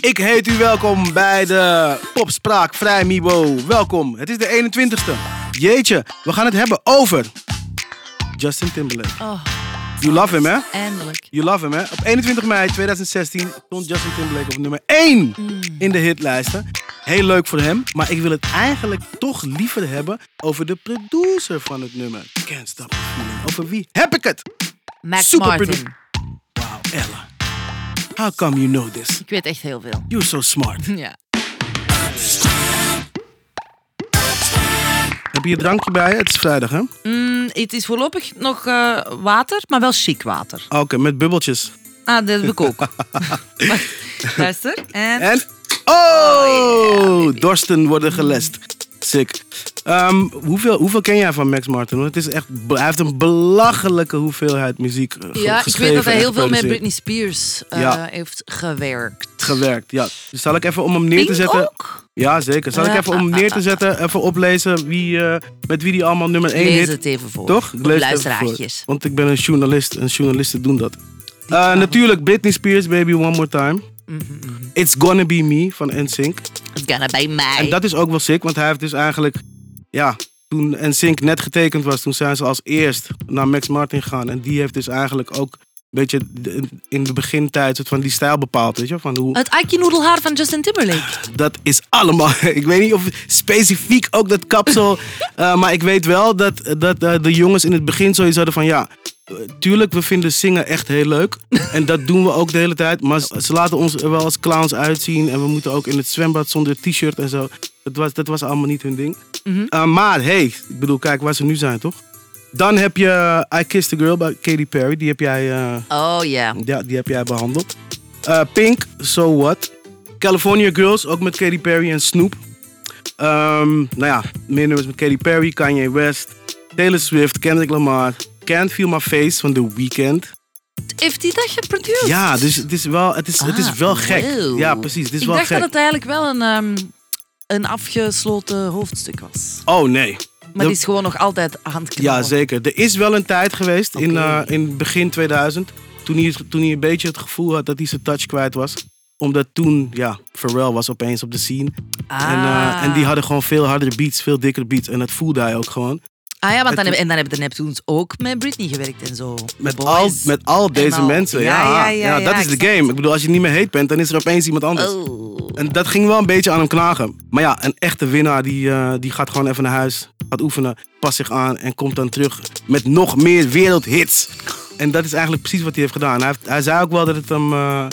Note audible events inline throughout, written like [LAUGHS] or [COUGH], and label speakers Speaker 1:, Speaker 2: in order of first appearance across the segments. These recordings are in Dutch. Speaker 1: Ik heet u welkom bij de Popspraak Vrij Mibo. Welkom, het is de 21ste. Jeetje, we gaan het hebben over Justin Timberlake.
Speaker 2: Oh,
Speaker 1: You love him, hè?
Speaker 2: eindelijk.
Speaker 1: You love him, hè? Op 21 mei 2016 stond Justin Timberlake op nummer 1 in de hitlijsten. Heel leuk voor hem, maar ik wil het eigenlijk toch liever hebben over de producer van het nummer. Can't stop the feeling. Over wie heb ik het?
Speaker 2: Mac
Speaker 1: Super
Speaker 2: Martin.
Speaker 1: producer. Wauw, Ella. How come you know this?
Speaker 2: Ik weet echt heel veel. [LAUGHS]
Speaker 1: You're so smart.
Speaker 2: Ja.
Speaker 1: Heb je je drankje bij je? Het is vrijdag, hè? Oké,
Speaker 2: Mm, het is voorlopig nog eh, water, maar wel chic water.
Speaker 1: met bubbeltjes.
Speaker 2: Ah, dat heb
Speaker 1: [LAUGHS]
Speaker 2: ik ook. Wacht, Luister. En...
Speaker 1: En... Oh! Dorsten worden gelest. Sick. Ehm, hoeveel, hoeveel ken jij van Max Martin? Want het is echt, be- hij heeft een belachelijke hoeveelheid muziek eh, ge-
Speaker 2: Ja, ik
Speaker 1: geschreven
Speaker 2: weet dat hij
Speaker 1: en
Speaker 2: heel veel met
Speaker 1: geproduceerd.
Speaker 2: Britney Spears eh,
Speaker 1: Ja.
Speaker 2: heeft gewerkt.
Speaker 1: Gewerkt, ja. Dus zal ik even om hem neer
Speaker 2: Pink
Speaker 1: te zetten...
Speaker 2: ook?
Speaker 1: Ja, zeker. Zal ik
Speaker 2: Ah,
Speaker 1: even om hem
Speaker 2: ah,
Speaker 1: neer
Speaker 2: ah,
Speaker 1: te zetten, even oplezen wie, eh, met wie die allemaal nummer 1
Speaker 2: Lees
Speaker 1: hit...
Speaker 2: het even voor.
Speaker 1: Toch? Ik
Speaker 2: Voor
Speaker 1: lees het even
Speaker 2: Luisteraartjes.
Speaker 1: voor, Want ik ben een journalist en journalisten doen dat. Eh, natuurlijk, Britney Spears, Baby One More Time.
Speaker 2: Mhm,
Speaker 1: It's Gonna Be Me van NSYNC.
Speaker 2: It's gonna be mij.
Speaker 1: En dat is ook wel sick, want hij heeft dus eigenlijk... Ja, toen NSYNC net getekend was, toen zijn ze als eerst naar Max Martin gegaan. En die heeft dus eigenlijk ook een beetje de- in de begintijd het van die stijl bepaald. Weet je? Van hoe,
Speaker 2: Het Aki-noedelhaar van Justin Timberlake.
Speaker 1: dat is allemaal. [LAUGHS] Ik weet niet of specifiek ook dat kapsel. eh, maar ik weet wel dat, dat eh, de jongens in het begin zoiets hadden van ja. eh, Tuurlijk, we vinden zingen echt heel leuk. En dat doen we ook de hele tijd. Maar ze ze laten ons er wel als clowns uitzien. En we moeten ook in het zwembad zonder t-shirt en zo. Dat was, dat was allemaal niet hun ding. Eh, maar hey, ik bedoel, kijk waar ze nu zijn, toch? Dan heb je I Kissed a Girl bij Katy Perry. Die heb jij eh,
Speaker 2: Oh ja.
Speaker 1: ja, die heb jij behandeld. Eh, Pink, So What. California Girls, ook met Katy Perry en Snoop. Ehm, nou ja, meer nummers met Katy Perry, Kanye West, Taylor Swift, Kendrick Lamar. Can't Feel My Face van The Weeknd.
Speaker 2: Heeft hij dat geproduceerd?
Speaker 1: Ja, dus het is wel, het is, het is
Speaker 2: Ah,
Speaker 1: wel gek.
Speaker 2: wow.
Speaker 1: Ja, precies. Het is
Speaker 2: ik
Speaker 1: wel
Speaker 2: dacht
Speaker 1: gek.
Speaker 2: dat het eigenlijk wel een, ehm, een afgesloten hoofdstuk was.
Speaker 1: Oh nee.
Speaker 2: Maar
Speaker 1: De-
Speaker 2: het is gewoon nog altijd handknallen.
Speaker 1: Ja, zeker. Er is wel een tijd geweest in,
Speaker 2: Oh. Oké.
Speaker 1: eh, in begin 2000. Toen hij, toen hij een beetje het gevoel had dat hij zijn touch kwijt was. Omdat toen, ja, Pharrell was opeens op de scene.
Speaker 2: Ah.
Speaker 1: En, eh, en die hadden gewoon veel hardere beats, veel dikkere beats. En dat voelde hij ook gewoon.
Speaker 2: Ah ja, want dan,
Speaker 1: Het-
Speaker 2: heb- en dan hebben de Neptunes ook met Britney gewerkt en zo.
Speaker 1: Met
Speaker 2: Boys.
Speaker 1: al, met al deze
Speaker 2: al-
Speaker 1: mensen.
Speaker 2: Ja,
Speaker 1: Ja,
Speaker 2: ja, ja, ja,
Speaker 1: dat
Speaker 2: ik
Speaker 1: is de
Speaker 2: snap
Speaker 1: game. Ik bedoel, als je niet meer heet bent, dan is er opeens iemand anders.
Speaker 2: Oh.
Speaker 1: En dat ging wel een beetje aan hem knagen. Maar ja, een echte winnaar die, eh, die gaat gewoon even naar huis. Gaat oefenen, past zich aan en komt dan terug met nog meer wereldhits. En dat is eigenlijk precies wat hij heeft gedaan. Hij, heeft- hij zei ook wel dat het hem... eh,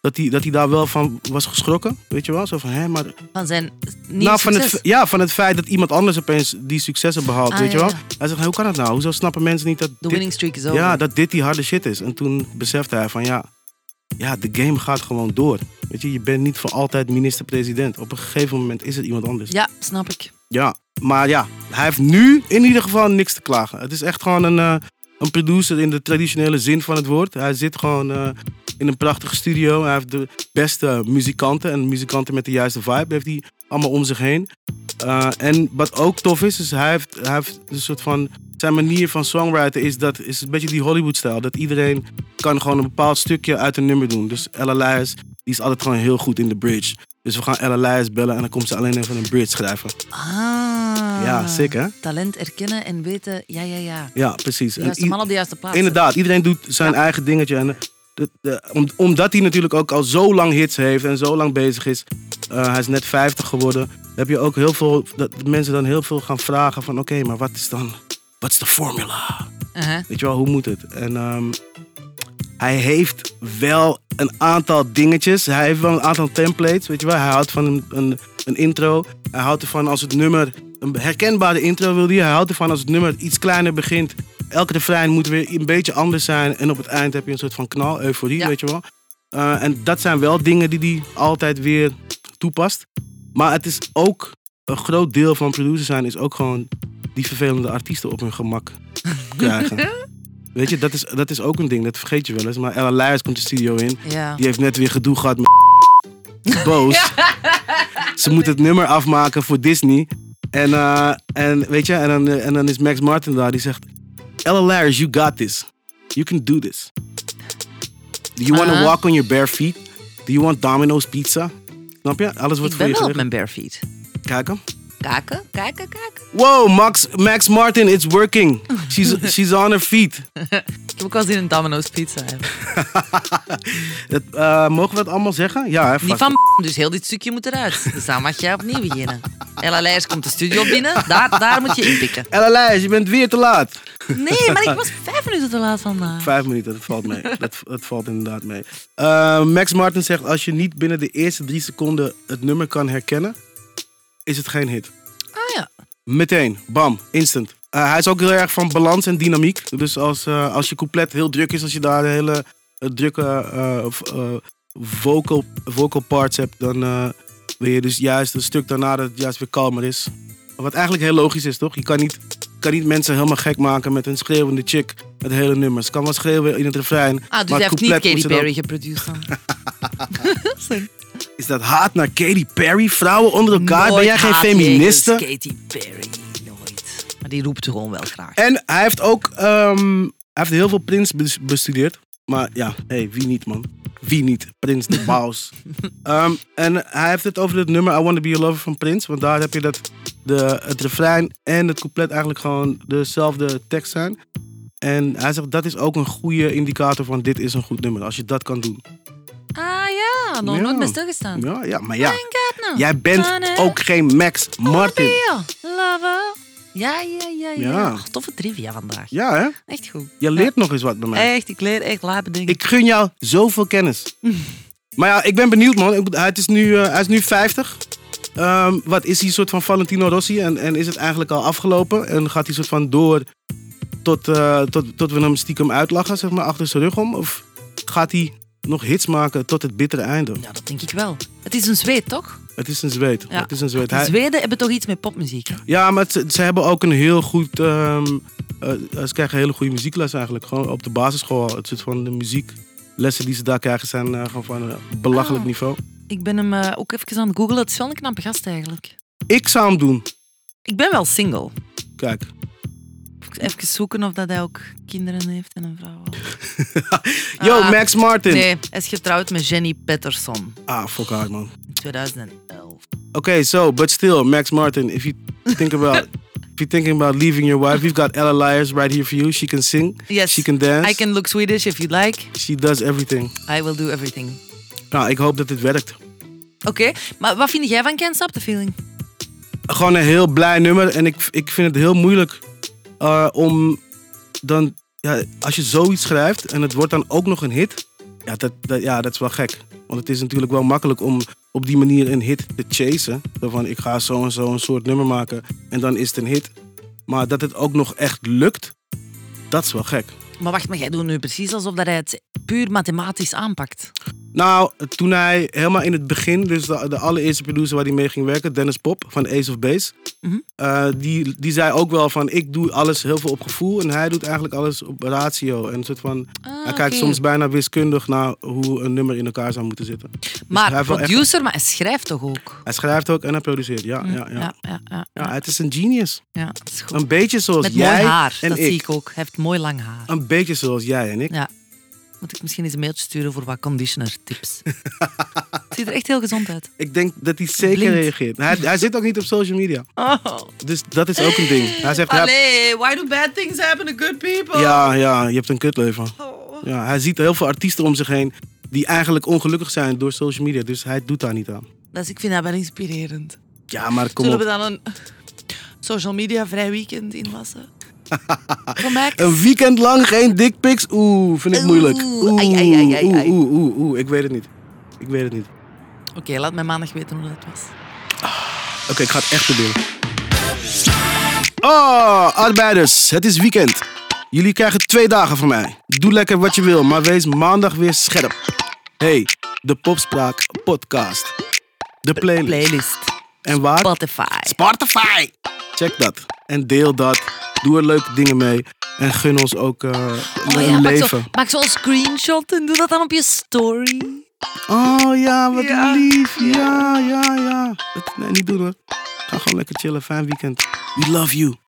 Speaker 1: dat hij, dat hij daar wel van was geschrokken, weet je wel? Zo van, hè, maar
Speaker 2: Van zijn nieuw
Speaker 1: Nou, van het,
Speaker 2: succes.
Speaker 1: fe- ja, van het feit dat iemand anders opeens die successen behaalt,
Speaker 2: Ah,
Speaker 1: weet je
Speaker 2: ja,
Speaker 1: wel.
Speaker 2: ja.
Speaker 1: Hij zegt, hoe kan dat nou? Hoezo snappen mensen niet dat
Speaker 2: De
Speaker 1: dit,
Speaker 2: winning streak is over.
Speaker 1: ja, dat dit die harde shit is? En toen besefte hij van, ja, ja de game gaat gewoon door. Weet je, je bent niet voor altijd minister-president. Op een gegeven moment is het iemand anders. Ja.
Speaker 2: Ja, snap ik.
Speaker 1: maar ja, hij heeft nu in ieder geval niks te klagen. Het is echt gewoon een, eh, een producer in de traditionele zin van het woord. Hij zit gewoon eh, in een prachtige studio. Hij heeft de beste muzikanten en muzikanten met de juiste vibe heeft hij allemaal om zich heen. Eh, en wat ook tof is, is hij heeft, hij heeft een soort van. Zijn manier van songwriten is, dat, is een beetje die Hollywood-stijl. Dat iedereen kan gewoon een bepaald stukje uit een nummer doen. Dus Ella Lyles, die is altijd gewoon heel goed in de bridge. Dus we gaan Ella Lyles bellen en dan komt ze alleen even een bridge schrijven.
Speaker 2: Ah.
Speaker 1: Ja, sick hè?
Speaker 2: Talent erkennen en weten, ja, ja, ja.
Speaker 1: Ja, precies.
Speaker 2: De
Speaker 1: En
Speaker 2: juiste
Speaker 1: i-
Speaker 2: man op de juiste plaats.
Speaker 1: Inderdaad, iedereen doet zijn eigen dingetje. En de- de- om- omdat hij natuurlijk ook al zo lang hits heeft en zo lang bezig is. eh, hij is net 50 geworden. Heb je ook heel veel, dat mensen dan heel veel gaan vragen van... Oké, maar wat is dan, wat is de formula?
Speaker 2: Uh-huh.
Speaker 1: Weet je wel, hoe moet het? En ehm, hij heeft wel een aantal dingetjes. Hij heeft wel een aantal templates, weet je wel. Hij houdt van een, een, een intro. Hij houdt ervan als het nummer... Een herkenbare intro wil hij. Hij houdt ervan als het nummer iets kleiner begint. Elke refrein moet weer een beetje anders zijn. En op het eind heb je een soort van knal, euforie,
Speaker 2: Ja.
Speaker 1: weet je wel. Eh, en dat zijn wel dingen die hij altijd weer toepast. Maar het is ook... Een groot deel van producer zijn is ook gewoon... die vervelende artiesten op hun gemak krijgen. Weet je, dat is, dat is ook een ding, dat vergeet je wel eens. Maar Ella Leijers komt de studio in.
Speaker 2: Ja.
Speaker 1: Die heeft net weer gedoe gehad met [LAUGHS] boos.
Speaker 2: [LAUGHS]
Speaker 1: Ze moet het nummer afmaken voor Disney. En, eh, en, weet je, en, dan, eh, en dan is Max Martin daar, die zegt... Ella Leijers, you got this. You can do this. Do you want to
Speaker 2: Uh-huh.
Speaker 1: walk on your bare feet? Do you want Domino's pizza? Snap je? Alles wordt voor
Speaker 2: ik ben
Speaker 1: je
Speaker 2: wel op
Speaker 1: gelegd.
Speaker 2: mijn bare feet.
Speaker 1: Kijk hem.
Speaker 2: Kaken, kaken, kaken.
Speaker 1: Wow, Max, Max Martin, it's working. She's,
Speaker 2: [LAUGHS]
Speaker 1: she's on her feet.
Speaker 2: Ik heb ook wel zin in Domino's Pizza. hebben.
Speaker 1: Het, eh, mogen we dat allemaal zeggen? Ja, hè,
Speaker 2: Niet
Speaker 1: vast.
Speaker 2: van dus heel dit stukje moet eruit. Dus dan mag jij opnieuw beginnen. Ella Leijers komt de studio binnen, daar, daar moet je inpikken.
Speaker 1: Ella Leijs, je bent weer te laat.
Speaker 2: Nee, maar ik was vijf minuten te laat vandaag.
Speaker 1: Vijf minuten, dat valt mee. Dat, dat valt inderdaad mee. Eh, Max Martin zegt, als je niet binnen de eerste drie seconden het nummer kan herkennen, is het geen hit.
Speaker 2: Ah ja.
Speaker 1: Meteen, bam, instant. Eh, hij is ook heel erg van balans en dynamiek. Dus als, eh, als je couplet heel druk is, als je daar de hele eh, drukke eh, v- eh, vocal, vocal parts hebt, dan eh, wil je dus juist een stuk daarna dat het juist weer kalmer is. Wat eigenlijk heel logisch is, toch? Je kan niet, kan niet mensen helemaal gek maken met een schreeuwende chick het hele nummer. Ze kan wel schreeuwen in het refrein.
Speaker 2: Ah, dus
Speaker 1: maar
Speaker 2: hij
Speaker 1: het
Speaker 2: heeft niet
Speaker 1: couplet moet
Speaker 2: Katy
Speaker 1: ze dan-
Speaker 2: Perry geproduceerd dan. Sorry.
Speaker 1: Is dat haat naar Katy Perry? Vrouwen onder elkaar? ben jij
Speaker 2: Nooit
Speaker 1: geen
Speaker 2: haat
Speaker 1: feministe?
Speaker 2: jegens Katy Perry, nooit. Maar die roept gewoon wel graag.
Speaker 1: En hij heeft ook ehm, hij heeft heel veel Prins bes- bestudeerd. Maar ja, hey, wie niet, man? Wie niet? Prins de [LAUGHS] Baus. Ehm, en hij heeft het over het nummer I Wanna Be Your Lover van Prins. Want daar heb je dat de, het refrein en het couplet eigenlijk gewoon dezelfde tekst zijn. En hij zegt dat is ook een goede indicator van dit is een goed nummer. Als je dat kan doen.
Speaker 2: Ah ja, nog
Speaker 1: Ja.
Speaker 2: nooit bij stilgestaan.
Speaker 1: Ja, ja maar ja.
Speaker 2: Kijk nou.
Speaker 1: Jij bent
Speaker 2: Tane.
Speaker 1: ook geen Max Martin.
Speaker 2: Ja, lava. Ja, ja, ja, ja.
Speaker 1: Ja.
Speaker 2: Ach, toffe trivia vandaag.
Speaker 1: Ja, hè?
Speaker 2: Echt goed.
Speaker 1: Je leert nog eens wat bij mij.
Speaker 2: Echt, ik leer echt lape dingen.
Speaker 1: Ik gun jou zoveel kennis. maar ja, ik ben benieuwd, man. Ik bedoel, Het is nu, eh, hij is nu 50. Ehm, wat is hij een soort van Valentino Rossi? En, en is het eigenlijk al afgelopen? En gaat hij soort van door tot, eh, tot, tot we hem stiekem uitlachen, zeg maar, achter zijn rug om? Of gaat hij nog hits maken tot het bittere einde?
Speaker 2: Ja, dat denk ik wel. Het is een zweet, toch?
Speaker 1: Het is een zweet.
Speaker 2: Ja.
Speaker 1: Het is een zweet.
Speaker 2: De
Speaker 1: Hij-
Speaker 2: Zweden hebben toch iets met popmuziek? hè?
Speaker 1: ja, maar ze, ze hebben ook een heel goed... ehm, eh, ze krijgen hele goede muziekles eigenlijk. Gewoon op de basisschool. al. Het soort van de muzieklessen die ze daar krijgen zijn eh, gewoon van een belachelijk
Speaker 2: Ah.
Speaker 1: niveau.
Speaker 2: Ik ben hem eh, ook even aan het googlen. Het is wel een knappe gast eigenlijk.
Speaker 1: Ik zou hem doen.
Speaker 2: Ik ben wel single.
Speaker 1: Kijk.
Speaker 2: Even zoeken of dat hij ook kinderen heeft en een vrouw.
Speaker 1: Yo,
Speaker 2: Ah,
Speaker 1: Max Martin.
Speaker 2: Nee, hij is getrouwd met Jenny Patterson
Speaker 1: Ah, fuck hard, man.
Speaker 2: in 2011.
Speaker 1: Oké, so, but still, Max Martin, if you think
Speaker 2: [LAUGHS]
Speaker 1: about... If you're thinking about leaving your wife, we've got Ella Liars right here for you. She can sing,
Speaker 2: Yes,
Speaker 1: she can dance,
Speaker 2: I can look Swedish if you like.
Speaker 1: she does everything.
Speaker 2: I will do everything.
Speaker 1: Nou, ik hoop dat dit werkt.
Speaker 2: Oké, maar wat vind jij van Can't Stop the Feeling?
Speaker 1: Gewoon een heel blij nummer en ik, ik vind het heel moeilijk eh, om dan... Ja, als je zoiets schrijft en het wordt dan ook nog een hit, ja dat, dat, ja, dat is wel gek. Want het is natuurlijk wel makkelijk om op die manier een hit te chasen. Zo van ik ga zo en zo een soort nummer maken en dan is het een hit. Maar dat het ook nog echt lukt, dat is wel gek.
Speaker 2: Maar wacht, maar jij doet nu precies alsof dat hij het puur mathematisch aanpakt.
Speaker 1: Nou, toen hij helemaal in het begin, dus de, de allereerste producer waar hij mee ging werken, Dennis Pop van Ace of Base,
Speaker 2: Mhm.
Speaker 1: eh, die, die zei ook wel van ik doe alles heel veel op gevoel en hij doet eigenlijk alles op ratio. En een soort van,
Speaker 2: Ah,
Speaker 1: hij kijkt
Speaker 2: oké.
Speaker 1: soms bijna wiskundig naar hoe een nummer in elkaar zou moeten zitten. Dus hij
Speaker 2: Maar
Speaker 1: heeft wel echt-
Speaker 2: producer, maar hij schrijft toch ook?
Speaker 1: Hij schrijft ook en hij produceert, ja.
Speaker 2: Hm,
Speaker 1: ja, ja.
Speaker 2: ja, ja, ja,
Speaker 1: Ja, het is een genius.
Speaker 2: ja, dat is goed.
Speaker 1: Een beetje zoals
Speaker 2: Met mooi
Speaker 1: jij
Speaker 2: haar,
Speaker 1: en
Speaker 2: dat
Speaker 1: ik.
Speaker 2: zie ik ook. Hij heeft mooi lang haar.
Speaker 1: Een beetje zoals jij en ik.
Speaker 2: Ja. Moet ik misschien eens een mailtje sturen voor wat conditioner
Speaker 1: [LAUGHS]
Speaker 2: tips. Het ziet er echt heel gezond uit.
Speaker 1: Ik denk dat hij zeker
Speaker 2: Blind.
Speaker 1: reageert. Hij, hij zit ook niet op social media. Dus dat is ook een ding. Hij
Speaker 2: [LAUGHS]
Speaker 1: zegt, ja,
Speaker 2: Allee, why do bad things happen to good people?
Speaker 1: ja, ja, je hebt een kutleven.
Speaker 2: Oh.
Speaker 1: Ja, hij ziet heel veel artiesten om zich heen die eigenlijk ongelukkig zijn door social media. Dus hij doet daar niet aan.
Speaker 2: Dus ik vind dat wel inspirerend.
Speaker 1: Ja, maar kom
Speaker 2: Zullen
Speaker 1: op.
Speaker 2: we dan een social media vrij
Speaker 1: [LAUGHS]
Speaker 2: weekend inlassen? Kom Max.
Speaker 1: Een weekend lang geen dickpics? Oeh, vind ik
Speaker 2: Oeh,
Speaker 1: moeilijk. Oeh,
Speaker 2: ai, ai, ai, ai,
Speaker 1: oeh,
Speaker 2: ai.
Speaker 1: oeh, oeh, oeh, ik weet het niet. Ik weet het niet.
Speaker 2: Oké, laat mij maandag weten hoe dat was.
Speaker 1: Oké, ik ga het echt proberen. Oh, arbeiders, het is weekend. Jullie krijgen twee dagen van mij. Doe lekker wat je wil, maar wees maandag weer scherp. Hey, de Popspraak Podcast. De playlist.
Speaker 2: Playlist.
Speaker 1: En waar?
Speaker 2: Spotify.
Speaker 1: Spotify. Check dat. En deel dat. Doe er leuke dingen mee. En gun ons ook eh,
Speaker 2: Oh
Speaker 1: een
Speaker 2: ja, maak zo-
Speaker 1: leven.
Speaker 2: maak zo'n screenshot en doe dat dan op je story.
Speaker 1: Oh ja, wat
Speaker 2: Ja.
Speaker 1: lief. Ja, ja, ja. Dat, nee, niet doen hoor. Ga gewoon lekker chillen. Fijn weekend. We love you.